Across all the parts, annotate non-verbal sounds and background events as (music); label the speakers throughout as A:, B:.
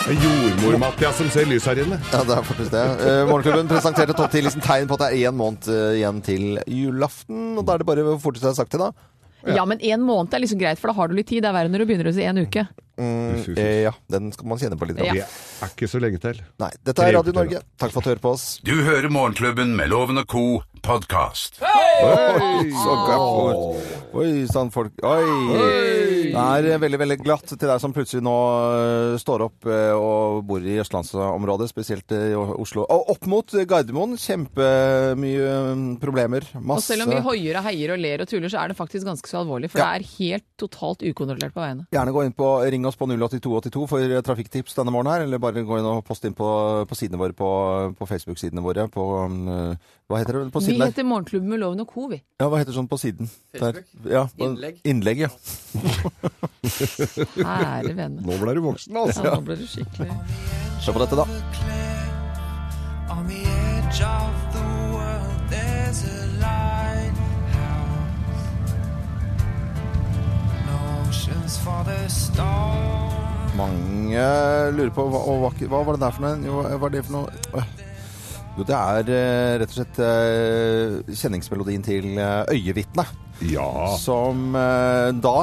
A: Det er Jordmormat, ja, som ser lys her inne.
B: Ja, det er faktisk det. Eh, Morgenklubben presenterte topp 10-listen tegn på at det er én måned eh, igjen til julaften. Og da er det bare å forte seg sakte, da.
C: Ja, men en måned er liksom greit, for da har du litt tid. Det er verre når du begynner å si en uke. Mm,
A: Uff, uff, uff.
B: Eh, ja, den skal man kjenne på litt.
C: Ja.
B: grann.
A: Det er ikke så lenge til.
B: Nei, dette er Radio Norge. Takk for at du hører på oss.
D: Du hører Morgenklubben med Loven og Co. podkast.
B: Oi, så gaffort. Oi sann, folk. Oi. Det er eh, veldig, veldig glatt til deg som plutselig nå eh, står opp eh, og bor i østlandsområdet, spesielt eh, i Oslo. Og opp mot Gardermoen. Kjempemye eh, problemer.
C: Og
A: Altså-
B: Masse
C: selv om vi hoier og heier og ler og tuller, så er det faktisk ganske så alvorlig. For
B: Ja.
C: det er helt totalt ukontrollert på veiene.
B: Gjerne gå inn på, ring oss på 08282 for eh, trafikktips denne morgenen her, eller bare gå inn og post inn på, på sidene våre, på, på Facebook-sidene våre, på, um, hva heter det på
C: Vi
B: siden der?
C: heter Morgenklubben med Loven og Co, vi.
B: Ja, hva heter sånn på siden? Der. Ja, på, innlegg. ja.
C: Ære vene.
A: Nå ble du voksen, altså.
C: Ja, nå ble det skikkelig
B: Se på dette da.
E: On the edge of the world, there's a lighthouse. Notions for the storm.
B: Mange lurer på, hva, og hva, hva var det der for noe? Jo, hva er det for noe? Øh. Jo, det er eh, rett og slett eh, kjenningsmelodien til eh, Øyevittne.
A: Ja.
B: Som eh, da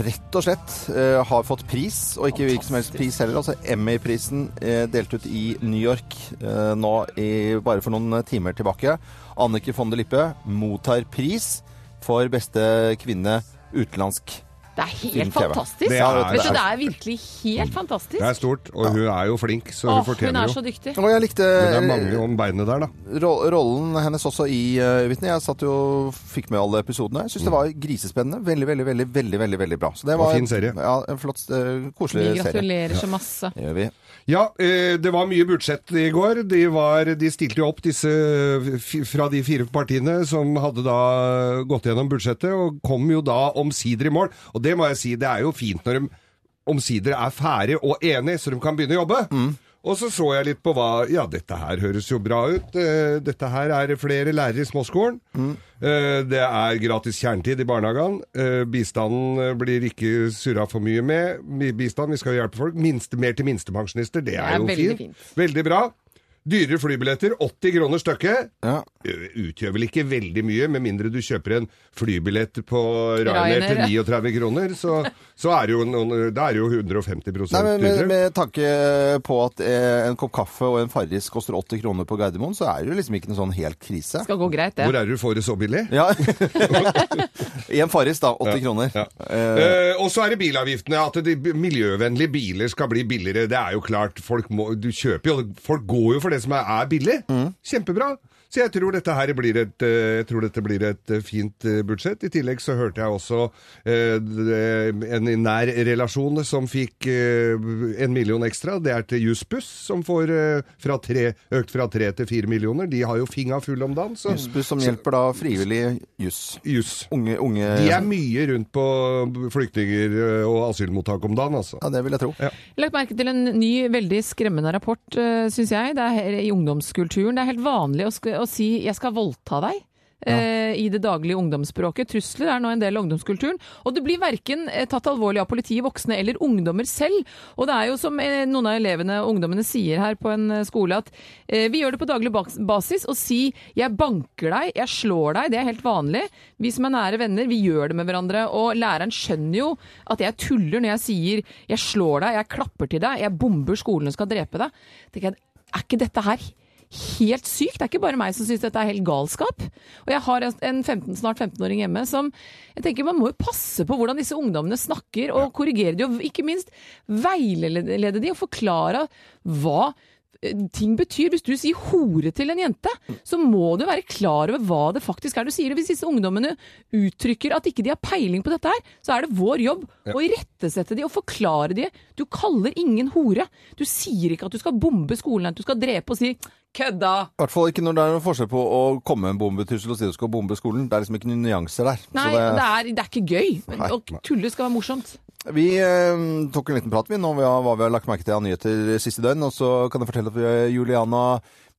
B: rett og slett eh, har fått pris, og ikke hvilken som helst pris heller. Altså Emmy-prisen eh, delt ut i New York eh, nå i, bare for noen eh, timer tilbake. Annike von der Lippe mottar pris for beste kvinne utenlandsk.
C: Det er
B: Film-TV.
C: helt fantastisk.
A: Det er-
C: Vet du, det er virkelig helt fantastisk.
A: Det er stort, og hun er jo flink, så hun
C: Åh, hun
A: fortjener
C: er
A: jo.
C: så dyktig.
B: Og jeg likte
A: Men det er mange om beinet der, da.
B: ro- rollen hennes også i eh, Øyevittne. Jeg satt jo og fikk med alle episodene. Jeg syns det var grisespennende. Veldig, veldig, veldig veldig, veldig, veldig bra. Så det
A: Mm. Og
B: var
A: fin serie.
B: Ja, en flott, eh,
C: Vi
B: koselig serie.
C: gratulerer så masse.
B: Det gjør vi.
A: Ja, eh, det var mye budsjett i går. De, var, de stilte jo opp disse f- fra de fire partiene som hadde da gått gjennom budsjettet, og kom jo da omsider i mål. Og det må jeg si, det er jo fint når de omsider er ferdig og enig, så de kan begynne å jobbe. Og så så jeg litt på hva Ja, dette her høres jo bra ut. Eh, Dette her er flere lærere i småskolen.
B: Mm.
A: Eh, Det er gratis kjernetid i barnehagene. Eh, Bistanden eh, blir ikke surra for mye med. Mi- Bistand, vi skal jo hjelpe folk. Minste, mer til minstepensjonister, det er,
C: er
A: jo
C: veldig fint.
A: fint. Veldig bra. Dyrere flybilletter, 80 kroner stykket.
B: Ja.
A: Eh, Utgjør vel ikke veldig mye, med mindre du kjøper en flybillett på Ryanair til
C: Ryanair,
A: 39 kroner, så, så er det jo, noen, da er det jo 150
B: Nei, men med,
A: dyrere.
B: med tanke på at eh, en kopp kaffe og en Farris koster 80 kroner på Gardermoen, så er det jo liksom ikke noen sånn helt krise.
C: Skal gå greit,
A: Hvor
C: det.
A: er det du får det så billig?
B: Ja. (laughs) I en Farris, da. 80 kroner.
A: Ja.
B: Eh,
A: Eh, og så er det bilavgiftene. At de b- miljøvennlige biler skal bli billigere. Det er jo klart. Folk, må, du kjøper jo, folk går jo for det som er, er billig. Kjempebra. Så jeg tror dette her blir et, eh, jeg tror dette blir et eh, fint eh, budsjett. I tillegg så hørte jeg også eh, det- en i nær relasjon som fikk eh, en million ekstra. Det er til Jussbuss, som får eh, fra tre, økt fra tre til fire millioner. De har jo finga full om dagen, så
B: Jussbuss som hjelper da frivillig juss.
A: Juss.
B: Unge, unge
A: De er mye rundt på flyktninger eh, og asylmottak om dagen, altså.
B: Ja, det vil jeg tro.
C: Lagt merke til en ny, veldig skremmende rapport, eh, syns jeg. Det er her, I ungdomskulturen. Det er helt vanlig å, sk å si 'jeg skal voldta deg'. eh, i det daglige ungdomsspråket. Trusler er nå en del av ungdomskulturen. Og det blir verken eh, tatt alvorlig av politiet, voksne eller ungdommer selv. Og det er jo som eh, noen av elevene og ungdommene sier her på en eh, skole, at eh, vi gjør det på daglig bas- basis og si 'jeg banker deg', 'jeg slår deg', det er helt vanlig. Vi som er nære venner, vi gjør det med hverandre. Og læreren skjønner jo at jeg tuller når jeg sier 'jeg slår deg', 'jeg klapper til deg', 'jeg bomber skolen og skal drepe deg'. Tenker jeg, er ikke dette her helt sykt. Det er ikke bare meg som syns dette er helt galskap. Og jeg har en 15, snart 15-åring hjemme som jeg tenker man må jo passe på hvordan disse ungdommene snakker, og korrigere de, og ikke minst veilede de og forklare hva eh, ting betyr. Hvis du sier hore til en jente, så må du være klar over hva det faktisk er du sier. Og hvis disse ungdommene uttrykker at ikke de har peiling på dette her, så er det vår jobb å irettesette de og forklare de. Du kaller ingen hore. Du sier ikke at du skal bombe skolen, at du skal drepe og si kødda.
B: I hvert fall ikke når det er noen forskjell på å komme med en bombetrussel og si du skal bombe skolen. Det er liksom ikke noen nyanser der. Så
C: Nei, det...
B: det-
C: er, det er ikke gøy. Men å tulle skal være morsomt.
B: Vi eh, tok en liten prat vi nå om hva vi har lagt merke til av nyheter siste døgn. Og så kan jeg fortelle at vi, eh, Juliana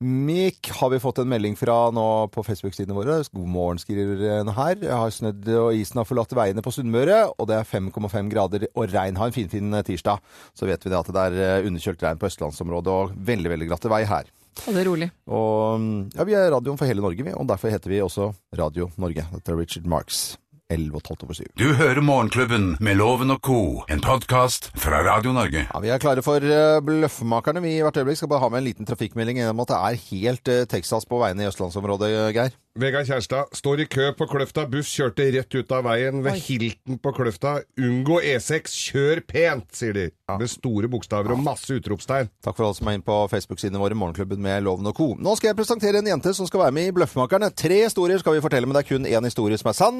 B: Mik har vi fått en melding fra nå på Facebook-sidene våre. God morgen, skriver hun her. Jeg har snødd og isen har forlatt veiene på Sunnmøre, og det er 5,5 grader og regn. Ha en finfin fin eh, tirsdag. Så vet vi det at det er eh, underkjølt regn på østlandsområdet og veldig, veldig glatte vei her.
C: Ta det rolig.
B: Og mm, ja, vi er radioen for hele Norge, vi, og derfor heter vi også Radio Norge. Dette er Richard Marks. 11 og 12 over 7.
D: Du hører Morgenklubben med Loven og co., en podkast fra Radio Norge.
B: Ja, Vi er klare for eh, Bløffmakerne. Vi i hvert øyeblikk skal bare ha med en liten trafikkmelding om at det er helt eh, Texas på veiene i østlandsområdet, Geir.
A: Vegard Kjærstad står i kø på Kløfta. Buss kjørte rett ut av veien ved Hilton på Kløfta. Unngå E6, kjør pent, sier de. Med store bokstaver og masse utropstegn.
B: Takk for alle som er inne på Facebook-sidene våre, Morgenklubben med Loven og co. Nå skal jeg presentere en jente som skal være med i Bløffmakerne. Tre historier skal vi fortelle, men det er kun én historie som er sann.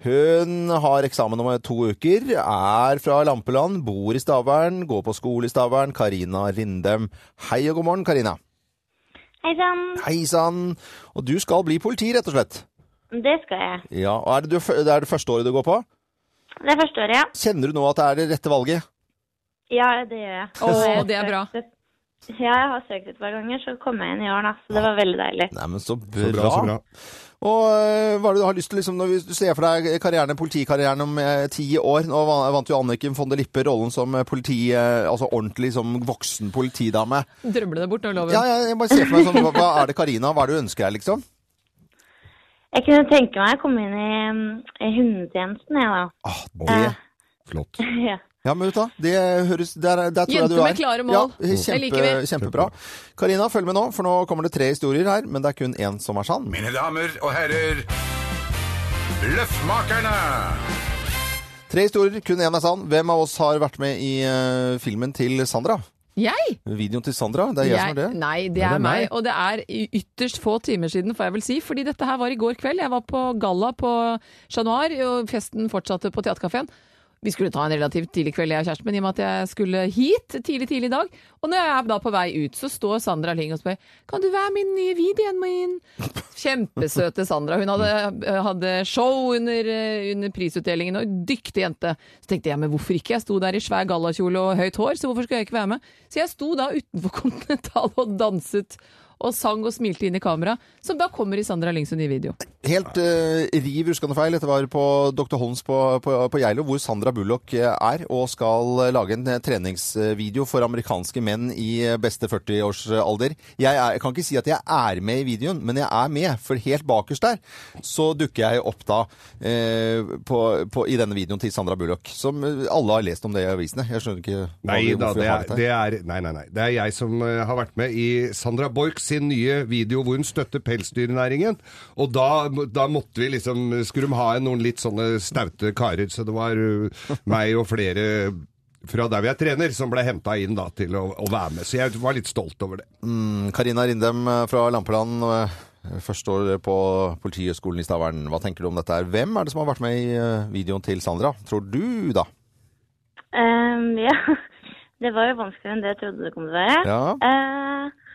B: Hun har eksamen om to uker, er fra Lampeland, bor i Stavern, går på skole i Stavern. Karina Rindem. Hei og god morgen, Karina.
F: Hei sann,
B: Hei sann. Og du skal bli politi, rett og slett.
F: det skal jeg.
B: Ja, og er det, du, det er det første året du går på?
F: Det forstår jeg.
B: Kjenner du nå at det er det rette valget?
F: Ja, det gjør jeg.
C: Å,
F: Og jeg
C: det er
F: søkte-
C: bra.
F: Ja, jeg har søkt et par ganger, så kom jeg inn i år, da. Så det var veldig deilig.
B: Nei, men så bra.
A: Så bra, så bra.
B: Og øh, hva er det du har lyst til liksom, når vi- du ser for deg karrieren, politikarrieren om eh, ti år? Nå va- vant jo Anniken von der Lippe rollen som eh, politi, eh, altså ordentlig som voksen politidame.
C: Drømmer du deg bort nå, Loven?
B: Ja, ja, jeg bare ser for meg sånn, hva, hva er det Karina, hva er det du ønsker deg liksom?
F: Jeg kunne tenke meg å komme inn i, mm, i hundetjenesten, jeg, da.
B: Ah, det...
A: Flott.
F: (laughs) Ja.
B: Ja, men vet du, hva, det høres Der, der tror jeg
C: Jenter
B: du er.
C: med klare mål.
B: Ja,
C: Det liker
B: kjempe,
C: vi.
B: kjempebra. Karina, følg med nå, for nå kommer det tre historier her, men det er kun én som er sann.
D: Mine damer og herrer, Løffmakerne!
B: Tre historier, kun én er sann. Hvem av oss har vært med i eh, filmen til Sandra?
C: Jeg?
B: Videoen til Sandra? Det er jeg, som er det.
C: Nei, det er, meg. Og det er i ytterst få timer siden, får jeg vel si. Fordi dette her var i går kveld. Jeg var på galla på Chat Noir, og festen fortsatte på Theatercaféen. Vi skulle ta en relativt tidlig kveld, jeg og kjæresten min, i og med at jeg skulle hit tidlig, tidlig i dag. Og når jeg er da på vei ut, så står Sandra Ling og spør Kan du være min nye videoen min? Kjempesøte Sandra. Hun hadde, hadde show under, eh, under prisutdelingen, og dyktig jente. Så tenkte jeg, men hvorfor ikke? Jeg sto der i svær gallakjole og høyt hår, så hvorfor skal jeg ikke være med? Så jeg sto da utenfor (laughs) Continental og danset. Og sang og smilte inn i kamera, som da kommer i Sandra Lings nye video.
B: Helt eh, riv ruskende feil. Dette var på Dr. Holms på, på, på Geilo, hvor Sandra Bullock eh, er og skal eh, lage en eh, treningsvideo for amerikanske menn i eh, beste 40-årsalder. Jeg, er- jeg kan ikke si at jeg er med i videoen, men jeg er med, for helt bakerst der så dukker jeg opp da eh, på, på, i denne videoen til Sandra Bullock, som eh, alle har lest om det i avisene. Jeg skjønner ikke hva
A: Nei
B: vi-
A: da,
B: hvorfor
A: det
B: vi har
A: er,
B: dette her.
A: det er, nei, nei, nei. Det er jeg som eh, har vært med i Sandra Borch sin nye video hvor hun støtter pelsdyrnæringen. Og da, da måtte vi liksom Skulle de ha en noen litt sånne staute karer, så det var eh, meg og flere fra der vi er trener, som ble henta inn da til å, å være med. Så jeg var litt stolt over det.
B: Karina Rindem eh, fra Lampeland, eh, første år på Politihøgskolen i Stavern. Hva tenker du om dette her? Hvem er det som har vært med i eh, videoen til Sandra? Tror du, da?
F: Ehm, ja. (laughs) Det var jo vanskeligere enn det jeg trodde det kom til å være.
B: Ja.
F: Eh,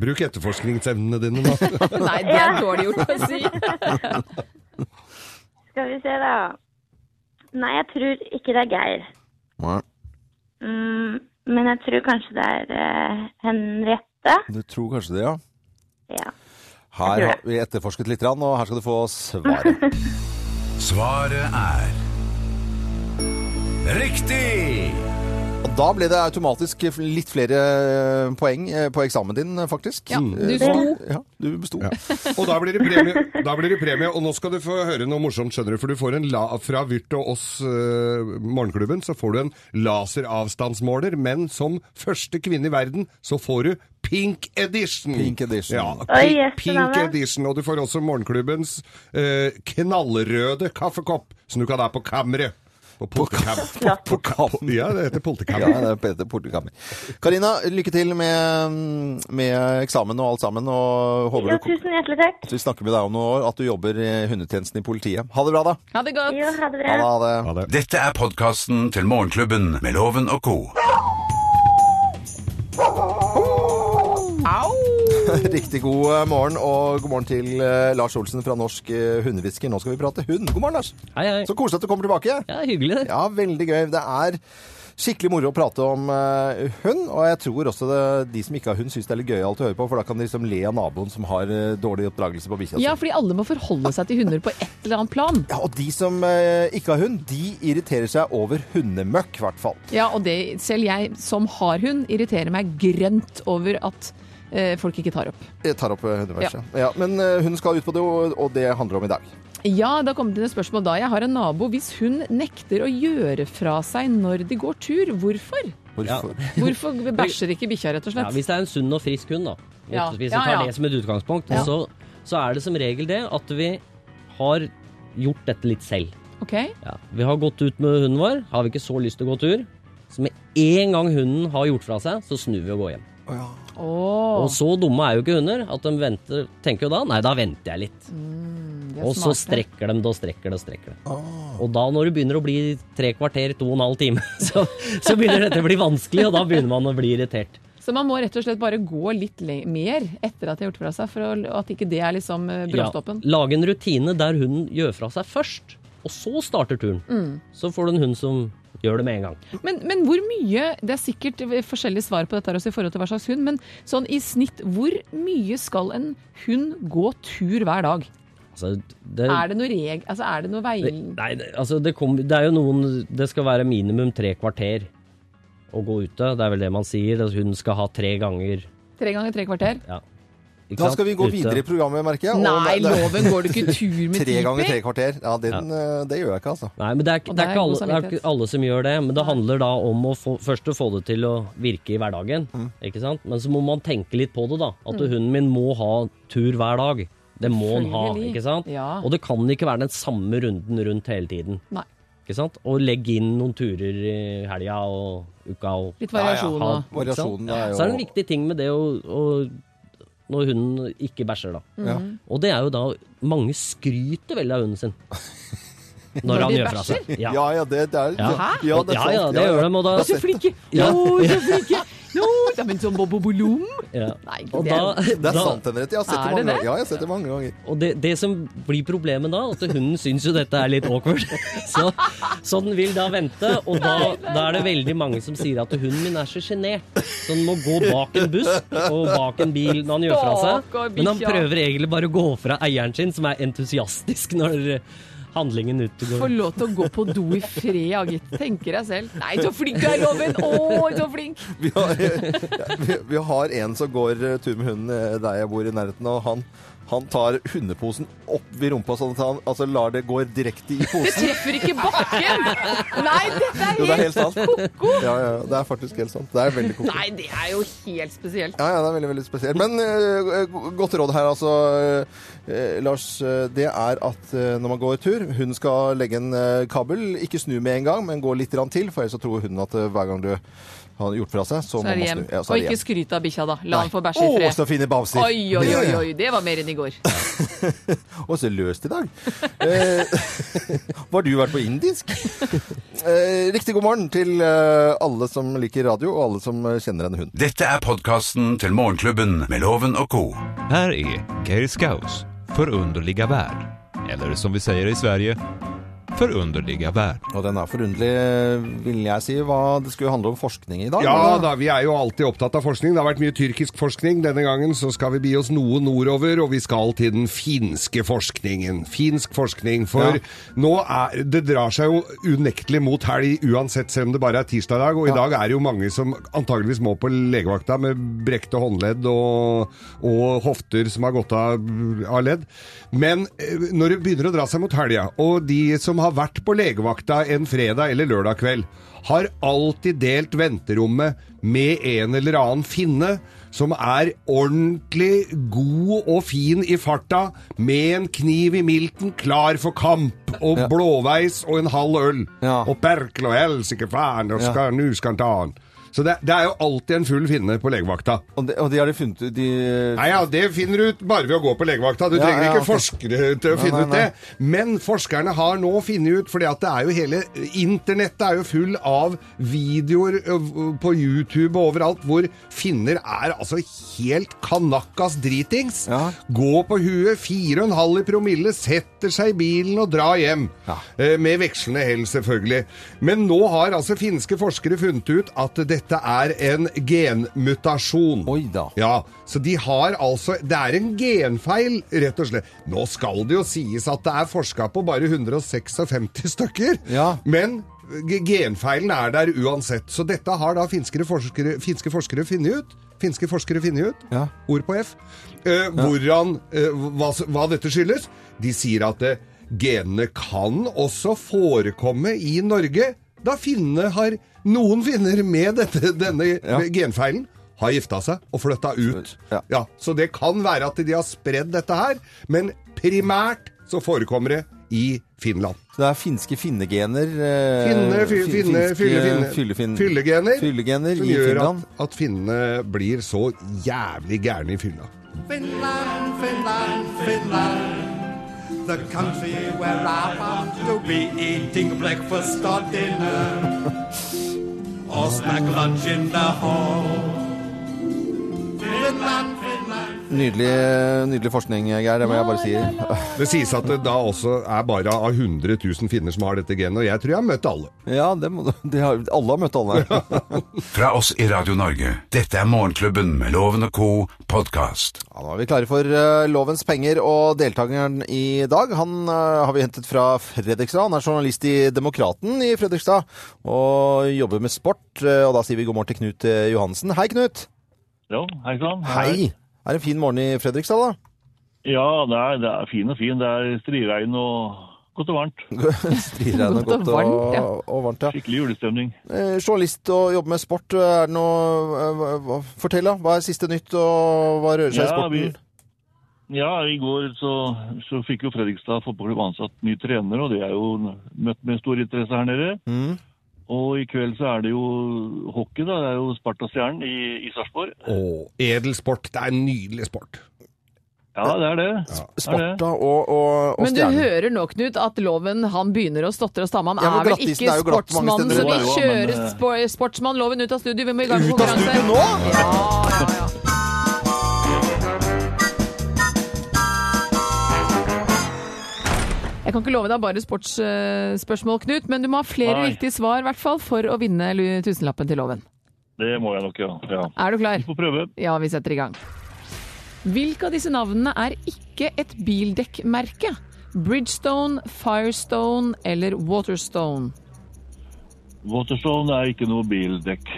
A: Bruk etterforskningsevnene dine nå.
C: Nei, det er dårlig gjort å si!
F: skal vi se, da. Nei, jeg tror ikke det er Geir.
B: Nei,
F: Mm, men jeg tror kanskje det er eh, Henriette.
B: du tror kanskje det, ja.
F: Ja.
B: Her har vi etterforsket litt, grann, og her skal du få svaret.
D: Svaret er Riktig!
B: Og da ble det automatisk litt flere eh, poeng eh, på eksamen din, eh, faktisk.
C: Ja, du
B: Eh,
C: sto.
B: Ja, du besto.
A: Og da blir, det premie, da blir det premie, og nå skal du få høre noe morsomt, skjønner du. For du får en la, fra Vyrt og oss, eh, morgenklubben, så får du en laseravstandsmåler. Men som første kvinne i verden, så får du Pink Edition.
B: Pink Edition.
A: Ja,
F: Oi,
A: pi-
F: jøsse
A: Pink
F: navn.
A: Edition. Og du får også morgenklubbens eh, knallrøde kaffekopp, som du kan ha på kammeret. På polterkammer.
F: Flott.
A: På kam- Ja, det heter polterkammer.
B: (laughs) Ja, det er Peter Portekammer. Karina, lykke til med, med eksamen og alt sammen, og håper
F: Jo,
B: du
F: tusen hjertelig takk.
B: vi snakker med deg om noen år, at du jobber i hundetjenesten i politiet. Ha det bra, da.
C: Ha det godt.
F: Jo, ha det
B: Ha
F: bra.
B: det, ha det. (laughs)
A: Ha det.
D: Dette er podkasten til Morgenklubben med Loven og co.
B: Riktig god eh, morgen, og god morgen til eh, Lars Olsen fra Norsk eh, Hundehvisker. Nå skal vi prate hund. God morgen, Lars.
G: Hei, hei.
B: Så koselig at du kommer tilbake.
G: Ja, hyggelig det.
B: Ja, veldig gøy. Det er skikkelig moro å prate om eh, hund, og jeg tror også det, de som ikke har hund, syns det er litt gøyalt å høre på, for da kan de liksom le av naboen som har eh, dårlig oppdragelse på bikkja si.
C: Ja, fordi alle må forholde seg til hunder på et eller annet plan.
B: Ja, og de som eh, ikke har hund, de irriterer seg over hundemøkk, i hvert fall.
C: Ja, og det, selv jeg som har hund, irriterer meg grønt over at eh, folk ikke tar opp.
B: Jeg tar opp eh, hundemøkk. Ja. Ja, men eh, hun skal ut på det, og, og det handler om i dag.
C: Ja, da kommer det et spørsmål da. Jeg har en nabo. Hvis hun nekter å gjøre fra seg når de går tur, hvorfor?
B: Hvorfor?
G: (laughs)
C: Hvorfor bæsjer ikke bikkja, rett og
G: Ja,
C: slett?
G: hvis det er en sunn og frisk hund, da.
C: Ja.
G: Hvis vi
C: Ja, ja.
G: tar det som et utgangspunkt,
C: Ja.
G: så, så er det som regel det at vi har gjort dette litt selv.
C: Ok,
G: Ja. Vi har gått ut med hunden vår, har vi ikke så lyst til å gå tur. Så med en gang hunden har gjort fra seg, så snur vi og går hjem.
C: Åh,
G: Og så dumme er jo ikke hunder at de venter, tenker jo da nei, da venter jeg litt.
C: de er
G: Og så
C: smarte.
G: strekker de det og strekker det og strekker det.
B: Ah.
G: Og da når det begynner å bli tre kvarter, to og en halv time, (laughs) så, så begynner dette å bli vanskelig, og da begynner man å bli irritert.
C: Så man må rett og slett bare gå litt le mer etter at de har gjort fra seg, for å, at ikke det er liksom eh, bråstoppen.
G: Ja, lage en rutine der hunden gjør fra seg først, og så starter turen.
C: Mm.
G: Så får du en hund som gjør det med en gang.
C: Men, men hvor mye, det er sikkert forskjellige svar på dette her også i forhold til hva slags hund, men sånn i snitt, hvor mye skal en hund gå tur hver dag?
G: Altså, det,
C: Er det noe reg... Altså, er det noe vei...
G: det, nei, det- altså det, kom, det er jo noen Det skal være minimum tre kvarter å gå ute. Det er vel det man sier. at Hunden skal ha tre ganger.
C: Tre ganger tre kvarter?
G: Ja.
B: Da
G: Ikke sant?
B: skal vi gå
G: Ute.
B: videre i programmet, merker jeg. og-
C: Nei, loven går du ikke
G: (laughs)
C: tur med
B: (laughs) Tre ganger
C: tipi?
B: tre kvarter. Ja, den, eh, det gjør jeg ikke, altså.
G: Nei, men det er, ikke-
C: Og
G: det er
C: det er
G: ikke,
C: god
G: alle, det er
C: samvittighet.
G: ikke alle som gjør det. Men det handler da om å få, først å få det til å virke i hverdagen. Ikke sant? Men så må man tenke litt på det, da. At hunden min må ha tur hver dag. Det må han ha.
C: Selvfølgelig.
G: ikke sant?
C: Ja.
G: Og det kan ikke være den samme runden rundt hele tiden.
C: Nei.
G: Ikke sant? Og legge inn noen turer i helga og uka. Og,
C: Litt variasjon
G: Ja, ja,
C: og-
G: ikke sant?
B: Variasjonen er jo-
G: Så er det en viktig ting med det å, å når hunden eh, ikke bæsjer, da.
B: Ja.
G: Og det er jo da mange skryter veldig av hunden sin. Når han
C: de
G: gjør fra seg. Ja.
B: Ja, ja, det, det er
G: Ja.
B: det-
G: Ja,
B: er
G: ja,
B: sant.
G: det gjør de. Og da,
C: Å, så flinke!
G: Ja.
C: Å, så flinke! Nå, da, men sånn bobobolom!
G: ja.
C: Nei,
G: Og,
C: det
G: da,
C: er-
B: Det er
G: da,
B: sant, Henriette. Jeg har sett
C: Er
B: det mange
C: det det?
B: ganger. Ja, jeg har sett det mange ganger.
G: og det, det som blir problemet da, at hunden syns jo dette er litt awkward. Så, så den vil da vente, og da, da er det veldig mange som sier at hunden min er så sjenert. Så den må gå bak en buss og bak en bil når han gjør fra seg.
C: Stakkar
G: Men han
C: bikkja.
G: prøver egentlig bare å gå fra eieren sin, som er entusiastisk når handlingen
C: Få
G: utgår.
C: lov til å gå på do i fred, ja, gitt. Tenker jeg selv. Nei, så flink du er, Loven! Å, så flink!
B: Vi har, (laughs) vi, vi har en som går eh, tur med hunden eh, der jeg bor i nærheten, og han, han tar hundeposen opp ved rumpa sånn at han altså, lar det gå direkte i
C: Det
B: posen.
C: treffer ikke bakken! Nei, dette er
B: Jo, det er helt sant.
C: helt ko-ko!
B: Ja, ja, det er faktisk helt sant. Det er veldig koko.
C: Nei, det er jo helt spesielt.
B: Ja, ja, det er veldig, veldig spesielt. Men eh, go- godt råd her, altså, eh, Lars. eh, Det er at eh, når man går tur, hun skal legge en eh, kabel. Ikke snu med en gang, men gå litt grann til, for ellers så tror hun at eh, hver gang du har gjort fra seg, så,
C: Så
B: må
C: er det
B: man
C: hjem.
B: snu. Ja, så
C: Og
B: er det
C: ikke
B: hjem.
C: skryt av bikkja, da. La han få bæsje i
B: Å,
C: fred.
B: så fine bamser!
C: Oi, oi, oi, oi, det var mer enn i går.
B: Og så løst i dag. Eh, (laughs) har du vært på indisk? Eh, riktig god morgen til eh, alle som liker radio, og alle som eh, kjenner en hund.
D: Dette er podkasten til Morgenklubben med Loven og co.
H: Här är Geir Skaus förunderliga värld. Eller som vi säger i Sverige, förunderliga värld.
B: Og den er forunderlig, vil jeg si, hva det skulle handle om forskning i dag.
A: Ja
B: eller?
A: da, vi er jo alltid opptatt av forskning. Det har vært mye tyrkisk forskning. Denne gangen så skal vi bi oss noe nordover, og vi skal til den finske forskningen. Finsk forskning, for
B: Ja.
A: nå er Det drar seg jo unektelig mot helg, uansett selv om det bare er tirsdag i dag. Og i dag er det jo mange som antageligvis må på legevakta med brekte håndledd og, og hofter som har gått av, av ledd. Men eh, når det begynner å dra seg mot helga, og de som har vært på legevakta en fredag eller lørdag kveld har alltid delt venterommet med en eller annen finne som er ordentlig god og fin i farta, med en kniv i milten, klar for kamp, og blåveis og en halv øl.
B: Ja.
A: Og perkel og helsike faen, og skal, nu skal han ta han. Så det, det er jo alltid en full finne på legevakta.
B: Og, de, og de har de funnet ut de,
A: Nei, ja, Det finner du ut bare ved å gå på legevakta. Du
B: Ja,
A: trenger
B: ja,
A: ikke
B: ok.
A: forskere til å
B: Nei,
A: finne
B: nei,
A: ut det. Men forskerne har nå funnet ut, fordi at det er jo hele Internettet er jo full av videoer ø, på YouTube og overalt hvor finner er altså helt kanakkas dritings.
B: Ja.
A: Gå på huet, fire og en halv i promille, setter seg i bilen og drar hjem.
B: Ja.
A: Eh, Med vekslende hell, selvfølgelig. Men nå har altså finske forskere funnet ut at dette er en genmutasjon.
B: Oi da.
A: Ja, så de har altså Det er en genfeil, rett og slett. Nå skal det jo sies at det er forska på bare 156 (laughs) stykker.
B: Ja.
A: Men g- genfeilen er der uansett. Så dette har da finske forskere, finske forskere funnet ut. Finske forskere funnet ut.
B: Ja.
A: Ord på F. Eh, hvordan, eh, hva, s- hva dette skyldes. De sier at eh, genene kan også forekomme i Norge da finnene har Noen finner med dette, denne genfeilen har gifta seg og flytta ut.
B: Ja.
A: Ja, så det kan være at de har spredd dette her, men primært så forekommer det i Finland.
B: Så det er finske finnegener eh,
A: Finne, fy,
B: fin-
A: finne,
B: finske
A: fylle, finne,
B: fyllefin-
A: fyllegener,
B: fyllegener
A: som
B: i
A: gjør
B: Finland.
A: at, at finnene blir så jævlig gærne i fylla.
E: Finland, Finland, Finland. The country where I want to be eating breakfast or dinner. Or snack lunch in the hall. Finland, Finland.
B: Nydelig, nydelig forskning, Geir. Det må jeg bare si.
A: Det sies at det da også er bare av 100 000 finner som har dette genet, og jeg tror jeg har møtt alle.
B: (laughs) Ja, det må du det har, Alle har møtt alle.
A: (laughs)
B: Ja,
D: Fra oss i Radio Norge, dette er Morgenklubben med Loven og Co. podkast.
B: nå er vi klare for eh, Lovens penger, og deltakeren i dag han eh, har vi hentet fra Fredrikstad. Han er journalist i Demokraten i Fredrikstad og jobber med sport. eh, og da sier vi god morgen til Knut eh, Johansen. Hei, Knut.
I: Ja, hei sann.
B: Hei. Er det en fin morgen i Fredrikstad,
C: (laughs)
B: da?
I: Ja, det er, det er fin og fin. Det er striregn og godt og varmt.
B: Striregnet
C: Godt og
B: godt og,
C: varmt, ja.
B: og varmt, ja.
I: Skikkelig julestemning.
B: Eh, journalist og jobber med sport. Er det noe eh, hva- hva- Fortell, da. Hva er siste nytt, og hva rører seg i
I: Ja,
B: sporten?
I: vi- Ja, i går så, så fikk jo Fredrikstad fotballklubb ansatt ny trener, og det er jo møtt med stor interesse her nede.
B: Mm.
I: Og i kveld så er det jo hockey, da. Det er jo Sparta-stjernen i, i Sarpsborg.
A: Og edel sport, det er en nydelig sport.
I: Ja, det er det. Det er det.
B: Sparta og, og, og
C: Men du
B: Stjernen.
C: hører nå, Knut, at loven han begynner å stotre og stamme. Han
B: Ja, men
C: er vel
B: glattisen
C: ikke
B: er jo glatt mange
C: sportsmannen,
B: steder.
C: så vi
I: Jo, jo, men,
C: kjører
I: eh,
C: spo sportsmann loven ut av studio. Vi må i gang med
B: Ut av studio
C: konkurranse.
B: nå?
C: Ja, ja, ja. Jeg kan ikke love deg bare sportsspørsmål, Knut, men du må ha flere
I: Nei.
C: riktige svar i hvert fall for å vinne lu- tusenlappen til loven.
I: Det må jeg nok, ja. ja.
C: Er du klar?
I: Vi får prøve.
C: Ja, vi setter i gang. Hvilke av disse navnene er ikke et bildekkmerke? Bridgestone, Firestone eller Waterstone?
I: Waterstone er ikke noe bildekk.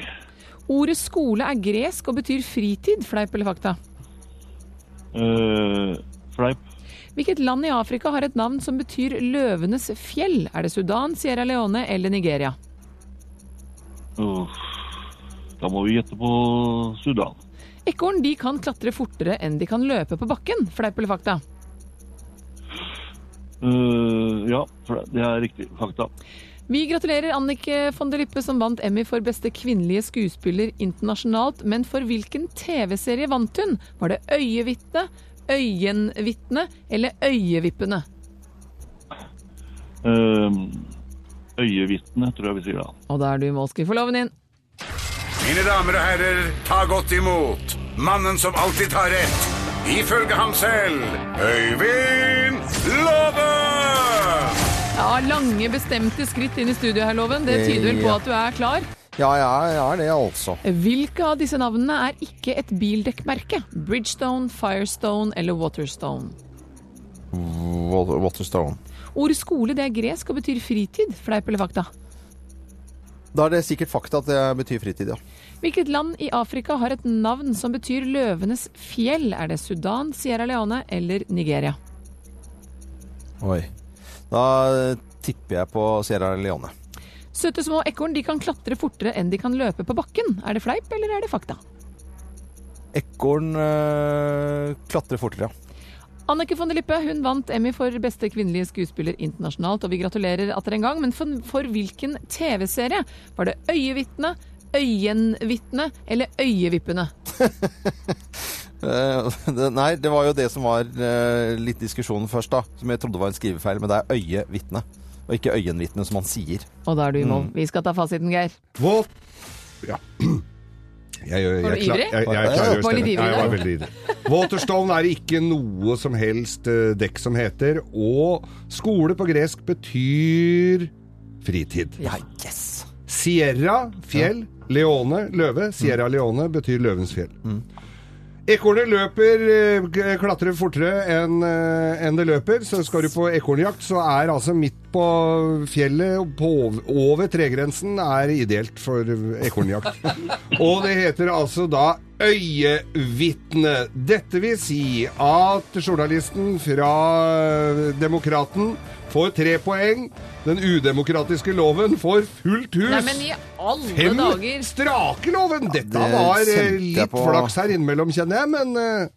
C: Ordet skole er gresk og betyr fritid, fleip eller fakta.
I: Eh, fleip.
C: Hvilket land i Afrika har et navn som betyr løvenes fjell? Er det Sudan, Sierra Leone eller Nigeria?
I: Uff. Da må vi gjette på Sudan.
C: Ekorn de kan klatre fortere enn de kan løpe på bakken, fleip eller fakta.
I: Eh, ja, for det er riktig. Fakta.
C: Vi gratulerer Annike von der Lippe som vant Emmy for beste kvinnelige skuespiller internasjonalt. Men for hvilken TV-serie vant hun? Var det Øyevitne, Øyenvitne eller Øyevippene?
I: Uh, øyevitne, tror jeg vi sier da.
C: Og da er du i mål, skal vi få loven din.
D: Mine damer og herrer, ta godt imot mannen som alltid tar rett, ifølge ham selv, Øyvind Låve!
C: Ja, Lange, bestemte skritt inn i studio her, Loven. Det tyder vel på
B: Ja.
C: at du er klar.
B: Ja, jeg er det, altså.
C: Hvilke av disse navnene er ikke et bildekkmerke? Bridgestone, Firestone eller Waterstone?
B: Wa- Waterstone.
C: Ordet skole det er gresk og betyr fritid. Fleip eller fakta?
B: Da er det sikkert fakta at det betyr fritid, ja.
C: Hvilket land i Afrika har et navn som betyr løvenes fjell? Er det Sudan, Sierra Leone eller Nigeria?
B: Oi. Da tipper jeg på Sierra Leone.
C: Søte små ekorn de kan klatre fortere enn de kan løpe på bakken. Er det fleip eller er det fakta?
B: Ekorn øh, klatrer fortere, ja.
C: Annike von der Lippe hun vant Emmy for beste kvinnelige skuespiller internasjonalt, og vi gratulerer atter en gang. Men for, for hvilken TV-serie? Var det Øyevitne, Øyenvitne eller Øyevippene?
B: Eh, (laughs) det, nei, det var jo det som var eh, litt diskusjonen først, da. Som jeg trodde var en skrivefeil, men det er øyevitne. Og ikke øyenvitne, som han sier.
C: Og da er du i mål. Vi skal ta fasiten, Geir.
A: Hva? Ja. Jeg, jeg,
C: Var du
A: jeg, klar-
C: ivrig?
A: Jeg, jeg, klarer å
C: Var litt
A: stemme.
C: ivrig
A: Ja, jeg var
C: der?
A: veldig ivrig. Waterstone er ikke noe som helst eh, dekk som heter, og skole på gresk betyr fritid.
C: Ja.
B: Yes!
A: Sierra, fjell. Leone, løve. Sierra Leone betyr løvens fjell. Ekornet løper, eh, k- klatrer fortere enn eh, enn det løper. Så skal du på ekornjakt, så er altså midt på fjellet, og på, ov- over tregrensen, er ideelt for ekornjakt. Og det heter altså da Øyevitne. Dette vil si at journalisten fra Demokraten får tre poeng. Den udemokratiske loven får fullt hus.
C: Nei, men i alle
A: Fem
C: dager!
A: strake loven! Dette
B: det
A: var eh,
B: kjente jeg
A: litt
B: på.
A: flaks her innimellom, kjenner jeg, men eh,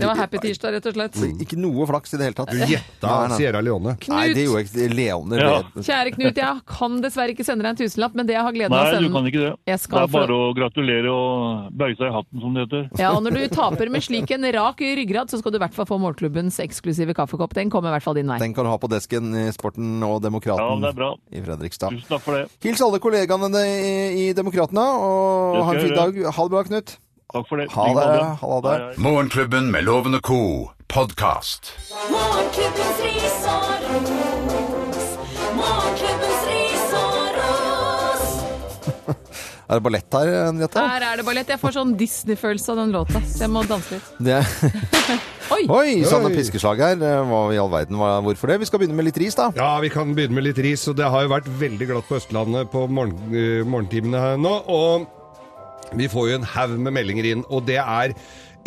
C: Det var happy tirsdag, rett og slett.
B: Ikke noe flaks i det hele tatt.
A: du gjetta
B: Nei, nei.
A: Sierra Leone.
B: Nei, det gjorde jeg ikke. Leone
I: Ja.
B: ble-
C: Kjære Knut, jeg kan dessverre ikke sende deg en tusenlapp, men det jeg har gleden av å
I: Nei, du
C: sende
I: kan ikke det.
C: Jeg
I: Det
C: skal
I: er bare
C: få-
I: å gratulere og bøye seg i hatten, som det heter.
C: Ja, og når du taper med slik en rak ryggrad, så skal du i hvert fall få morgenklubbens eksklusive kaffekopp. Den kommer i hvert fall din vei.
B: Den kan du ha på desken i Sporten og
I: Ja,
B: Demokraten
I: det er bra. Mm.
B: i Fredrikstad.
I: Tusen takk for det.
B: Hils alle kollegaene i, i Demokratene, og
I: Det skal
B: ha en fin
I: jeg gjøre.
B: dag. Ha det bra, Knut.
I: Takk for det.
B: Ha
I: Like
B: det.
I: måte.
B: Ha det.
I: Hei, hei.
D: Morgenklubben med Loven og Co. podkast.
J: Morgenklubbens ris og ros. Morgenklubbens ris og ros.
B: Er det ballett her, Henriette?
C: Her er det ballett. Jeg får sånn Disney-følelse av den låta, så jeg må danse litt.
B: Det.
C: (laughs) Oi!
B: Oi, sanne
A: Oi.
B: piskeslag her. eh, Hva i all verden, hva- hvorfor det? Vi skal begynne med litt ris, da.
A: Ja, vi kan begynne med litt ris, og det har jo vært veldig glatt på Østlandet på morgen, eh, morgentimene her nå. Og vi får jo en haug med meldinger inn, og det er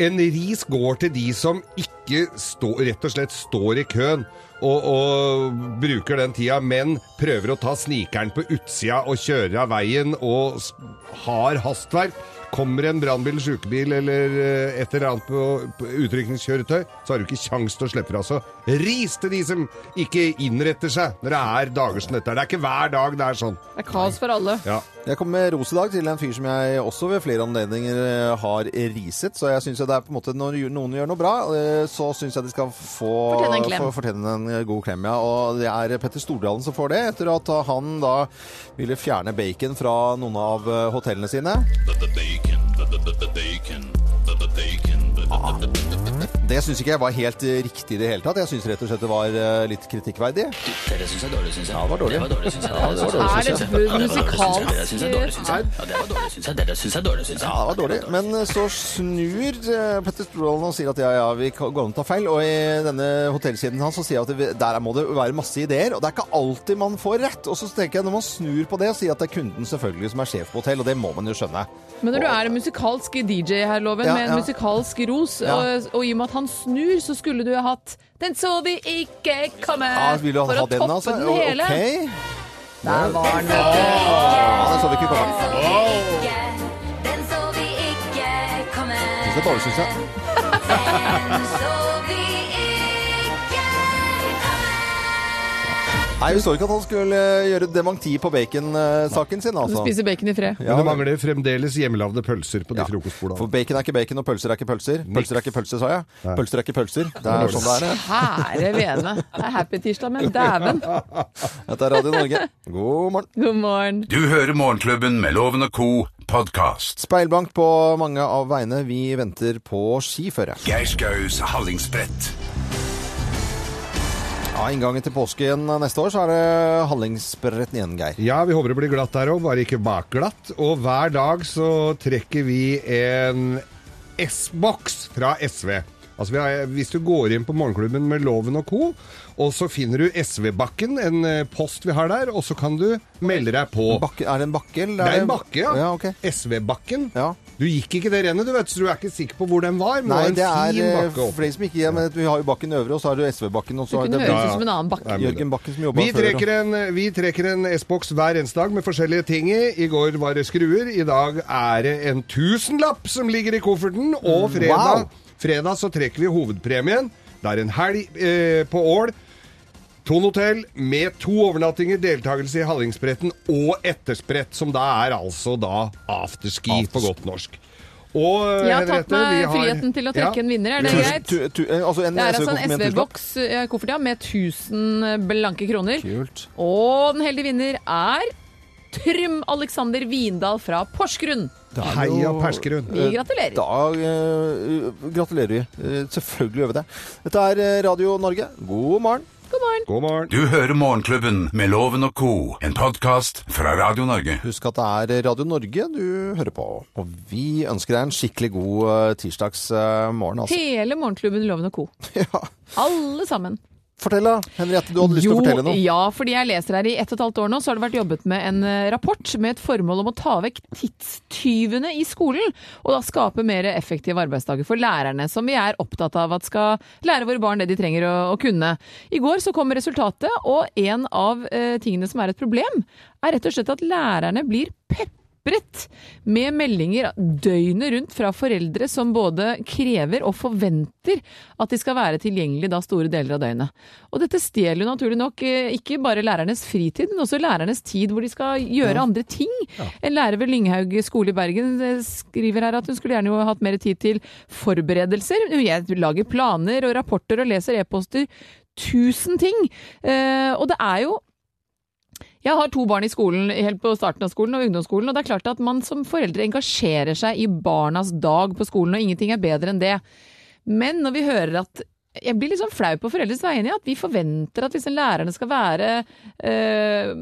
A: en ris går til de som ikke står, rett og slett står i køen og, og bruker den tida, men prøver å ta snikeren på utsida og kjører av veien og s- har hastverk. Kommer en brannbil, sjukebil eller eh, et eller annet på, på utrykningskjøretøy, så har du ikke kjangs til å slippe deg. Altså, ris til de som ikke innretter seg når det er dager som dette. Det er ikke hver dag det er sånn.
C: Det er kaos for alle.
A: Ja.
B: Jeg kom med ros i dag til en fyr som jeg også ved flere anledninger eh, har riset. Så jeg syns det er på en måte når gjør- noen gjør noe bra, eh, så syns jeg de skal få
C: Fortjene en klem.
B: få- fortjene en eh, god klem. Ja. Og det er Petter Stordalen som får det, etter at eh, han da ville fjerne bacon fra noen av eh, hotellene sine. Det syns ikke jeg var helt eh, riktig i det hele tatt. Jeg syns rett og slett det var eh, litt kritikkverdig.
K: Dere syns jeg er dårlig, syns jeg.
B: det var dårlig.
K: Det var dårlig, syns jeg. Dere
B: det var
K: syns jeg.
C: Er det musikalsk?
K: Dere syns jeg er dårlig, syns jeg. Ja, det var dårlig, syns jeg. Dere syns jeg er dårlig, syns jeg.
B: Ja, det var dårlig. Men eh, så snur eh, Petter Stordalen og sier at ja, ja, vi kan- går an å ta feil. Og i denne hotellsiden hans så sier jeg at det, der må det være masse ideer. Og det er ikke alltid man får rett. Og så tenker jeg når man snur på det og sier at det er kunden selvfølgelig som er sjef på hotell, og det må man jo skjønne.
C: Men når du er en musikalsk DJ her, Loven,
B: Ja,
C: med en
B: ja.
C: musikalsk ros,
B: Ja.
C: og, og i og med at han snur, så skulle du ha hatt 'Den så vi ikke komme'
B: Ja, vil du
C: for
B: ha
C: å toppe
B: den, altså?
C: den
B: O-
C: hele.
B: Ok.
C: Der var den, vet du.
B: Ja, den så vi ikke
J: Den
B: komme.
J: så vi ikke, den så vi ikke komme.
B: Det er dårlig, syns
J: (laughs)
B: jeg.
J: Den så vi ikke komme.
B: Nei, vi så ikke at han skulle eh, gjøre dementi på bacon-saken sin,
C: Du
B: altså.
C: spiser bacon i fred.
A: Men det mangler fremdeles hjemmelagde pølser på de frokostbordene.
B: For bacon er ikke bacon, og pølser er ikke pølser. Pølser er ikke pølser, sa jeg. Pølser er ikke pølser. Det er sånn det er. det.
C: Kjære vene. Det er happy tirsdag, men dæven.
B: Dette er Radio
A: (laughs)
B: Norge. God morgen.
C: God morgen.
D: Du hører Morgenklubben med Loven og Co. podkast.
B: Speilblank på mange av veiene. Vi venter på skiføre.
D: Geir Skaus Hallingsbrett.
B: Ja, Inngangen til påske igjen neste år, så er det Hallingsbretten igjen, Geir.
A: Ja, vi håper det blir glatt der òg, bare ikke bakglatt. Og hver dag så trekker vi en S-boks fra SV. Altså vi har, Hvis du går inn på Morgenklubben med Loven og co., og så finner du SV-bakken, en eh, post vi har der, og så kan du melde deg på.
B: Bakke, er det en bakke? Eller
A: Det er en bakke, ja.
B: ja ok.
A: SV-bakken.
B: Ja.
A: Du gikk ikke det rennet, du vet, så du er ikke sikker på hvor den var. Men
B: Nei,
A: det
B: det er
A: var en fin
B: eh,
A: bakke opp.
B: for de som ikke ja, men Vi har jo Bakken øvre, og så har du SV-bakken. Og
C: Det
B: så har
C: kunne
B: det
C: høres ut som en annen bakke.
A: Nei, men-
B: Jørgen Bakken som jobba
A: Vi trekker en, vi trekker en S-boks hver eneste dag med forskjellige ting i. I går var det skruer, i dag er det en tusenlapp som ligger i kofferten, og
B: Mm.
A: fredag,
B: Wow.
A: fredag så trekker vi hovedpremien. Det er en helg eh, på Ål. Thon hotell med to overnattinger, deltakelse i Hallingsbretten og ettersprett, som da er altså da afterski, på godt norsk. Og eh,
C: Jeg har tatt
A: Henriette,
C: meg
A: vi har-
C: friheten til å trekke en vinner, er det
A: Tusen-
C: greit?
B: Tu, tu, eh, altså en
C: Det er altså
B: SV-koffert
C: en
B: med en tusenlapp.
C: SV-boks eh, koffert ja, med 1000 blanke kroner.
B: Kult.
C: Og den heldige vinner er Trym Alexander Vindal fra Porsgrunn.
A: Heia Persgrunn.
C: Vi gratulerer.
B: Da eh, gratulerer vi. Eh, selvfølgelig gjør vi det. Dette er eh, Radio Norge. God morgen.
C: God morgen.
A: God morgen.
D: Du hører Morgenklubben med Loven og Co., en podkast fra Radio Norge.
B: Husk at det er Radio Norge du hører på. Og vi ønsker deg en skikkelig god eh, tirsdags eh, morgen. Altså.
C: Hele Morgenklubben Loven og co.
B: (laughs) Ja.
C: Alle sammen.
B: Fortell da, Henriette. Du hadde lyst til å fortelle noe.
C: Ja, fordi jeg leser her i ett og et halvt år nå, så har det vært jobbet med en eh, rapport med et formål om å ta vekk tidstyvene i skolen, og da skape mer effektive arbeidsdager for lærerne, som vi er opptatt av at skal lære våre barn det de trenger å, å kunne. I går så kom resultatet, og en av eh, tingene som er et problem, er rett og slett at lærerne blir pepret med meldinger døgnet rundt fra foreldre som både krever og forventer at de skal være tilgjengelige da store deler av døgnet. Og dette stjeler jo naturlig nok eh, ikke bare lærernes fritid, men også lærernes tid hvor de skal gjøre andre ting. En lærer ved Lynghaug skole i Bergen eh, skriver her at hun skulle gjerne jo hatt mer tid til forberedelser. Jeg lager planer og rapporter og leser e-poster. Tusen ting! Eh, og det er jo jeg har to barn i skolen, helt på starten av skolen og ungdomsskolen, og det er klart at man som foreldre engasjerer seg i barnas dag på skolen, og ingenting er bedre enn det. Men når vi hører at jeg blir litt sånn flau på foreldres vegne, ja, at vi forventer at liksom lærerne skal være eh,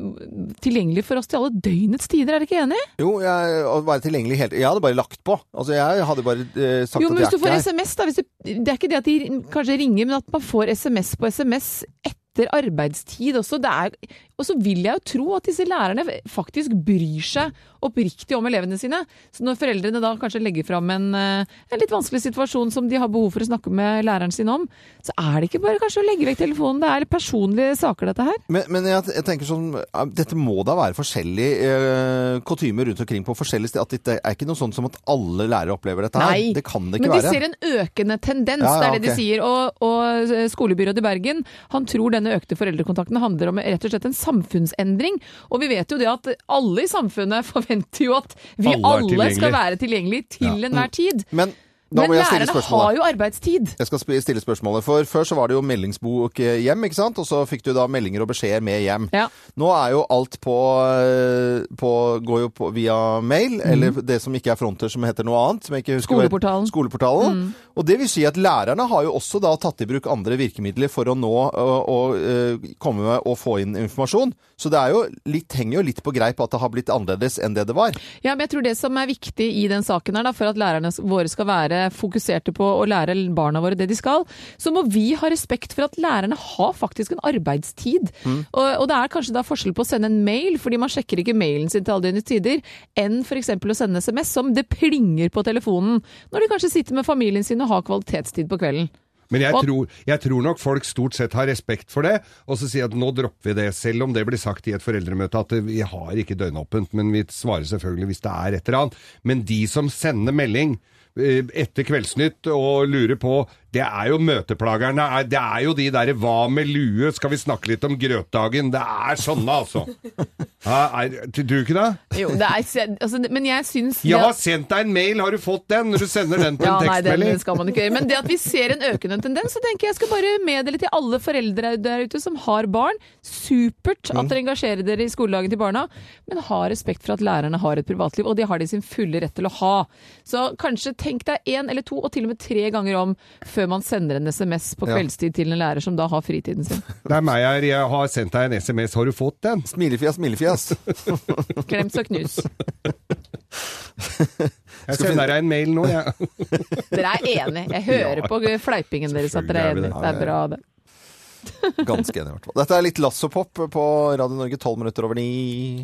C: tilgjengelige for oss til alle døgnets tider, er dere ikke enig?
B: Jo, jeg, å være tilgjengelig hele Jeg hadde bare lagt på. Altså, jeg hadde bare eh, sagt
C: Jo,
B: at
C: men hvis
B: jeg
C: du
B: er
C: får
B: ikke her.
C: liksom- SMS, da. Hvis du, det er ikke det at de kanskje ringer, men at man får SMS på SMS etter arbeidstid også. Det er, og så vil jeg jo tro at disse lærerne faktisk bryr seg oppriktig om elevene sine. Så når foreldrene da kanskje legger fram en, eh, en litt vanskelig situasjon som de har behov for å snakke med læreren sin om, så er det ikke bare kanskje å legge vekk telefonen. Det er personlige saker, dette her.
B: Men, men jeg, jeg tenker sånn eh, Dette må da være forskjellig eh, kutyme rundt omkring på forskjellige steder. At det er ikke noe sånn som at alle lærere opplever dette her.
C: Nei,
B: Det kan det
C: Men
B: ikke
C: de
B: være.
C: ser en økende tendens,
B: Ja, ja,
C: det er det
B: ok.
C: de sier. Og, og eh, skolebyrådet i Bergen han tror denne økte foreldrekontakten handler om rett og slett en samfunnsendring. Og vi vet jo det at alle i samfunnet (laughs) forventer jo at vi
A: Alle er
C: alle,
A: tilgjengelig.
C: skal være tilgjengelige til enhver tid.
B: Mm. Men da
C: Men
B: må jeg stille
C: lærerne
B: spørsmålet.
C: har jo arbeidstid.
B: Jeg skal sp- stille spørsmålet, for Før så var det jo meldingsbok eh, hjem, ikke sant? og så fikk du da meldinger og beskjeder med hjem.
C: Ja.
B: Nå er jo alt på, eh, på går jo på, via mail, eller det som ikke er fronter, som heter noe annet. Som jeg ikke husker hva-
C: Mm. Skoleportalen. Mm.
B: Skoleportalen. Og det vil si at lærerne har jo også da tatt i bruk andre virkemidler for å nå øh, å, øh, komme med og få inn informasjon. Så det er jo litt, henger jo litt på greip at det har blitt annerledes enn det det var.
C: Ja, men jeg tror det som er viktig i den saken her, da, for at lærerne våre skal være fokuserte på å lære barna våre det de skal, så må vi ha respekt for at lærerne har faktisk en arbeidstid. Og, og det er kanskje da forskjell på å sende en mail, fordi man sjekker ikke mailen sin til alle døgnets tider, enn f.eks. å sende SMS som det plinger på telefonen, når de kanskje sitter med familien sin og har kvalitetstid på kvelden.
A: Men jeg
C: Og-
A: tror, jeg tror nok folk stort sett har respekt for det, og så sier at nå dropper vi det, selv om det blir sagt i et foreldremøte at vi har ikke døgnåpent, men vi svarer selvfølgelig hvis det er et eller annet. Men de som sender melding eh, etter Kveldsnytt og lurer på Det er jo møteplagerne. er- Det er jo de derre 'hva med lue', skal vi snakke litt om grøtdagen? Det er sånne,
C: (laughs)
A: altså. Ja, er, tror du ikke det?
C: Jo, det er, altså, men jeg syns
A: Jeg har sendt deg en mail, har du fått den? Når du sender den på en
C: Ja, nei, den
A: tekstmelding.
C: skal man ikke gjøre. Men det at vi ser en økende tendens, så tenker jeg skal bare meddele til alle foreldre der ute som har barn. Supert
A: Mm.
C: at dere engasjerer dere i skoledagen til barna, men ha respekt for at lærerne har et privatliv, og det har de sin fulle rett til å ha. Så kanskje tenk deg én eller to, og til og med tre ganger om før man sender en SMS på
B: Ja.
C: kveldstid til en lærer som da har fritiden sin.
A: Det er meg her. Jeg har sendt deg en SMS. Har du fått den?
B: Smilefjes, smilefjes.
C: Klems og knus.
B: Skal
A: Jeg
B: finne-
A: sender deg en mail nå, jeg.
C: Dere er enige. Jeg hører på fleipingen deres at dere er
A: Selvfølgelig er vi
C: enige. Det er bra, det.
B: (laughs) Ganske enig, i hvert fall. Dette er litt Lassopop på Radio Norge, tolv minutter over ni.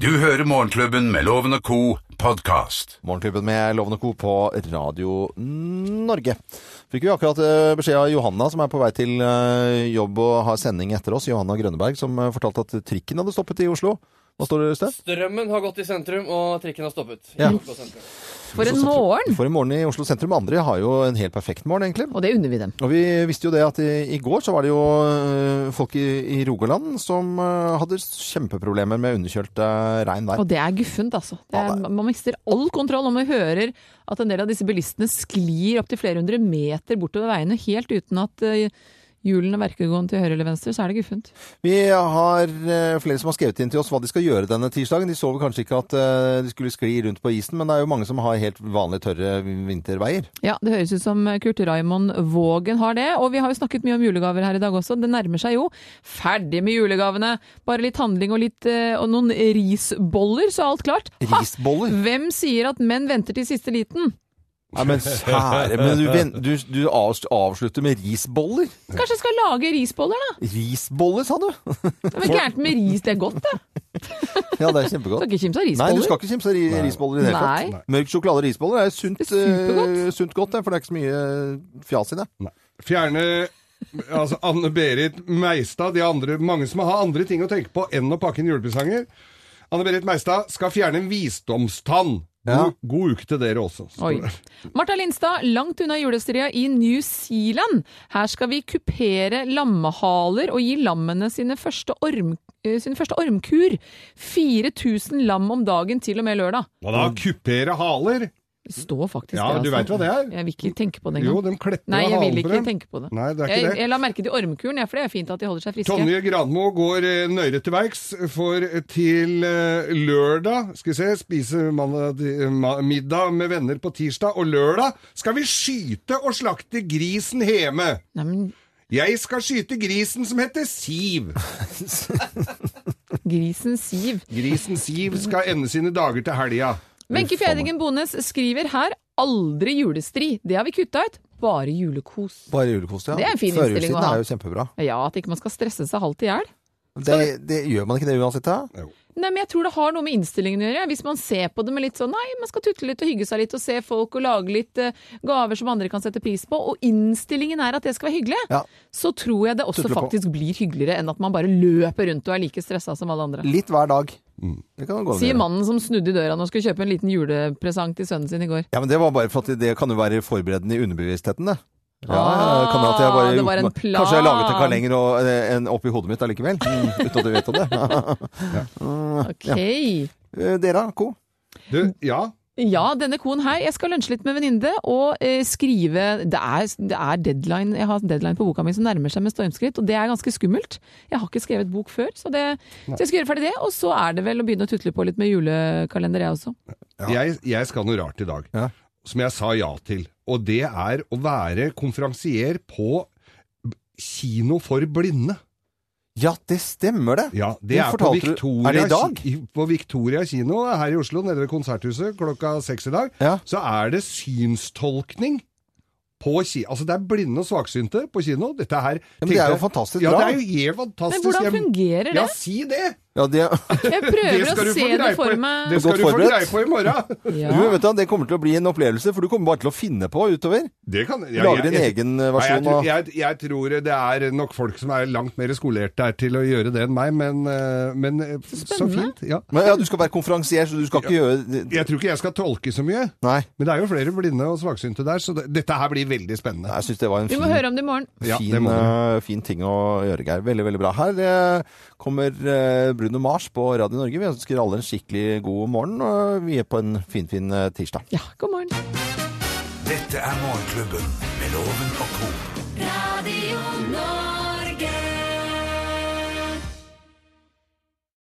D: Du hører Morgenklubben med Loven og Co. podkast.
B: Morgenklubben med Loven og Co. på Radio Norge. Fikk vi akkurat eh, beskjed av Johanna, som er på vei til eh, jobb og har sending etter oss. Johanna Grønneberg, som eh, fortalte at trikken hadde stoppet i Oslo. Hva står det, Øystein?
H: Strømmen har gått i sentrum, og trikken har stoppet. i
B: Ja.
H: Oslo sentrum.
C: For en morgen!
B: For en morgen i Oslo sentrum. Andre har jo en helt perfekt morgen, egentlig.
C: Og det unner vi dem.
B: Og vi visste jo det at i, i går så var det jo øh, folk i, i Rogaland som øh, hadde kjempeproblemer med underkjølt øh, regn der.
C: Og det er guffent, altså. Det er,
B: Ja, det
C: man mister all kontroll om man hører at en del av disse bilistene sklir opptil flere hundre meter bortover veiene helt uten at eh, hjulene verker gående til høyre eller venstre, så er det guffent.
B: Vi har øh, flere som har skrevet inn til oss hva de skal gjøre denne tirsdagen. De så vel kanskje ikke at øh, de skulle skli rundt på isen, men det er jo mange som har helt vanlige tørre vinterveier.
C: Ja, det høres ut som Kurt Raimond Vågen har det. Og vi har jo snakket mye om julegaver her i dag også. Det nærmer seg jo. Ferdig med julegavene! Bare litt handling og, litt, eh, og noen risboller, så er alt klart.
B: (laughs)
C: Ha!
B: Risboller?
C: Hvem sier at menn venter til siste liten?
B: Nei, men kjære Men du, ven- du, du avs- avslutter med risboller?
C: Kanskje jeg skal lage risboller, da?
B: Risboller, sa du? (laughs)
C: Det er vel gærent med ris, det er godt, det.
B: Ja, det er
C: Skal
B: kjempegodt.
C: ikke kimse av
B: Nei, du
C: risboller.
B: skal ikke kimse av ri- risboller i det hele
C: Nei.
B: tatt. Mørk sjokolade og risboller er sunt,
C: Det er supergodt.
B: eh, sunt godt, det, for det er ikke så mye eh, fjas i det.
A: Fjerne altså Anne-Berit Meistad. De andre, mange som har andre ting å tenke på enn å pakke inn julepresanger. Anne-Berit Meistad skal fjerne en visdomstann.
B: Ja.
A: God, god uke til dere også. står
C: Oi.
A: det.
C: Marta Lindstad, langt unna julestria i New Zealand. Her skal vi kupere lammehaler og gi lammene sine første, orm, eh, sin første ormkur. 4000 lam om dagen til og med lørdag.
A: Hva da? Kupere haler?
C: Det står faktisk
A: Ja,
C: det. altså.
A: du vet hva det er?
C: Jeg vil ikke tenke på det
A: Jo,
C: engang.
A: de klepper
C: Nei,
A: av
C: jeg vil
A: halen
C: ikke
A: for dem.
C: tenke på det.
A: Nei, det er ikke
C: Jeg,
A: det.
C: jeg la merke til ormkuren, jeg, for det er fint at de holder seg friske.
A: Tonje Granmo går eh, nøyere til verks, for til eh, lørdag skal vi se, spise mandag, di- ma- middag med venner på tirsdag, og lørdag skal vi skyte og slakte grisen hjemme.
C: Nei, men
A: Jeg skal skyte grisen som heter Siv.
C: grisen Siv.
A: Grisen Siv skal ende sine dager til helga.
C: Wenche Fjedingen Bones skriver her 'aldri julestri'. Det har vi kutta ut. Bare julekos.
B: Bare julekos, ja.
C: Det er en fin
B: Førjulstiden
C: innstilling å ha.
B: er jo kjempebra.
C: Ja, at ikke man skal stresse seg halvt i hjel.
B: Det, det gjør man ikke det uansett, da?
C: Nei, men jeg tror det har noe med innstillingen å gjøre. Hvis man ser på det med litt sånn nei, man skal tutle litt og hygge seg litt og se folk og lage litt eh, gaver som andre kan sette pris på, og innstillingen er at det skal være hyggelig,
B: Ja.
C: så tror jeg det også
B: Tutle på.
C: faktisk blir hyggeligere enn at man bare løper rundt og er like stressa som alle andre.
B: Litt hver dag. Det kan gå an å
C: Sier
B: gjøre.
C: mannen som snudde i døra når han skulle kjøpe en liten julepresang til sønnen sin i går.
B: Ja, men det var bare for at det kan jo være forberedende i underbevisstheten, det. Ja,
C: Ah,
B: ja, kan det at jeg bare
C: det var en
B: gjort meg-
C: plan.
B: Kanskje jeg laget en kalender og, eh, en oppi hodet mitt
A: (laughs)
B: allikevel. Mm, uten at jeg vet om det.
C: Ok.
B: Eh, Dere, co.
A: Du, ja,
C: Ja, denne koen her. Jeg skal lunsje litt med venninne og eh, skrive det er, det er deadline Jeg har deadline på boka mi som nærmer seg med stormskritt, og det er ganske skummelt. Jeg har ikke skrevet bok før, så, det, så jeg skal gjøre ferdig det. Og så er det vel å begynne å tutle på litt med julekalender, jeg også.
A: jeg, jeg skal noe rart i dag,
B: Ja.
A: som jeg sa ja til. Og det er å være konferansier på b- kino for blinde.
B: Ja, det stemmer det!
A: Ja, det
B: Hvor
A: er på
B: fortalte du-
A: Victoria,
B: er det i dag?
A: ki- på Victoria kino her i Oslo, nede ved Konserthuset, klokka seks i dag.
B: Ja.
A: Så er det synstolkning på kino. Altså, det er blinde og svaksynte på kino. Dette her
B: men det er
A: tenkte
B: jo fantastisk
A: jeg- Ja,
B: bra.
A: det er jo helt fantastisk.
C: Men hvordan
A: Jeg-
C: fungerer det?
A: Ja, si det!
B: Ja, det,
C: Jeg
A: Det
C: prøver
A: skal
C: å
A: du få
C: se det
A: greie på,
C: for meg.
A: det skal
B: Godt
A: du få
B: forberedt.
A: greie på i morgen.
C: Ja.
B: du, vet du, det kommer til å bli en opplevelse, for du kommer bare til å finne på utover.
A: Det kan, ja,
B: Lager
A: jeg-
B: din
A: jeg-
B: egen eh,
A: Nei, jeg,
B: versjon
A: tror-
B: av-
A: jeg, jeg tror det er nok folk som er langt mer skolert der til å gjøre det enn meg, men, eh, men eh, så
C: spennende.
A: fint. Ja.
B: Men ja, Du skal være konferansier, så du skal ikke gjøre
A: Jeg tror ikke jeg skal tolke så mye,
B: Nei.
A: men det er jo flere blinde og svaksynte der, så det, dette her blir veldig spennende.
B: Jeg syns det var en
C: Vi
B: fin
C: må høre om det i morgen.
A: Ja,
B: fin,
A: det må
B: eh, fin ting å gjøre, Geir. Veldig, veldig bra. Her eh, kommer eh, Bruno Mars på Radio Norge. Vi ønsker alle en skikkelig god morgen, og vi er på en finfin fin eh, tirsdag.
C: Ja, god morgen.
D: Dette er Morgenklubben med Loven og Co.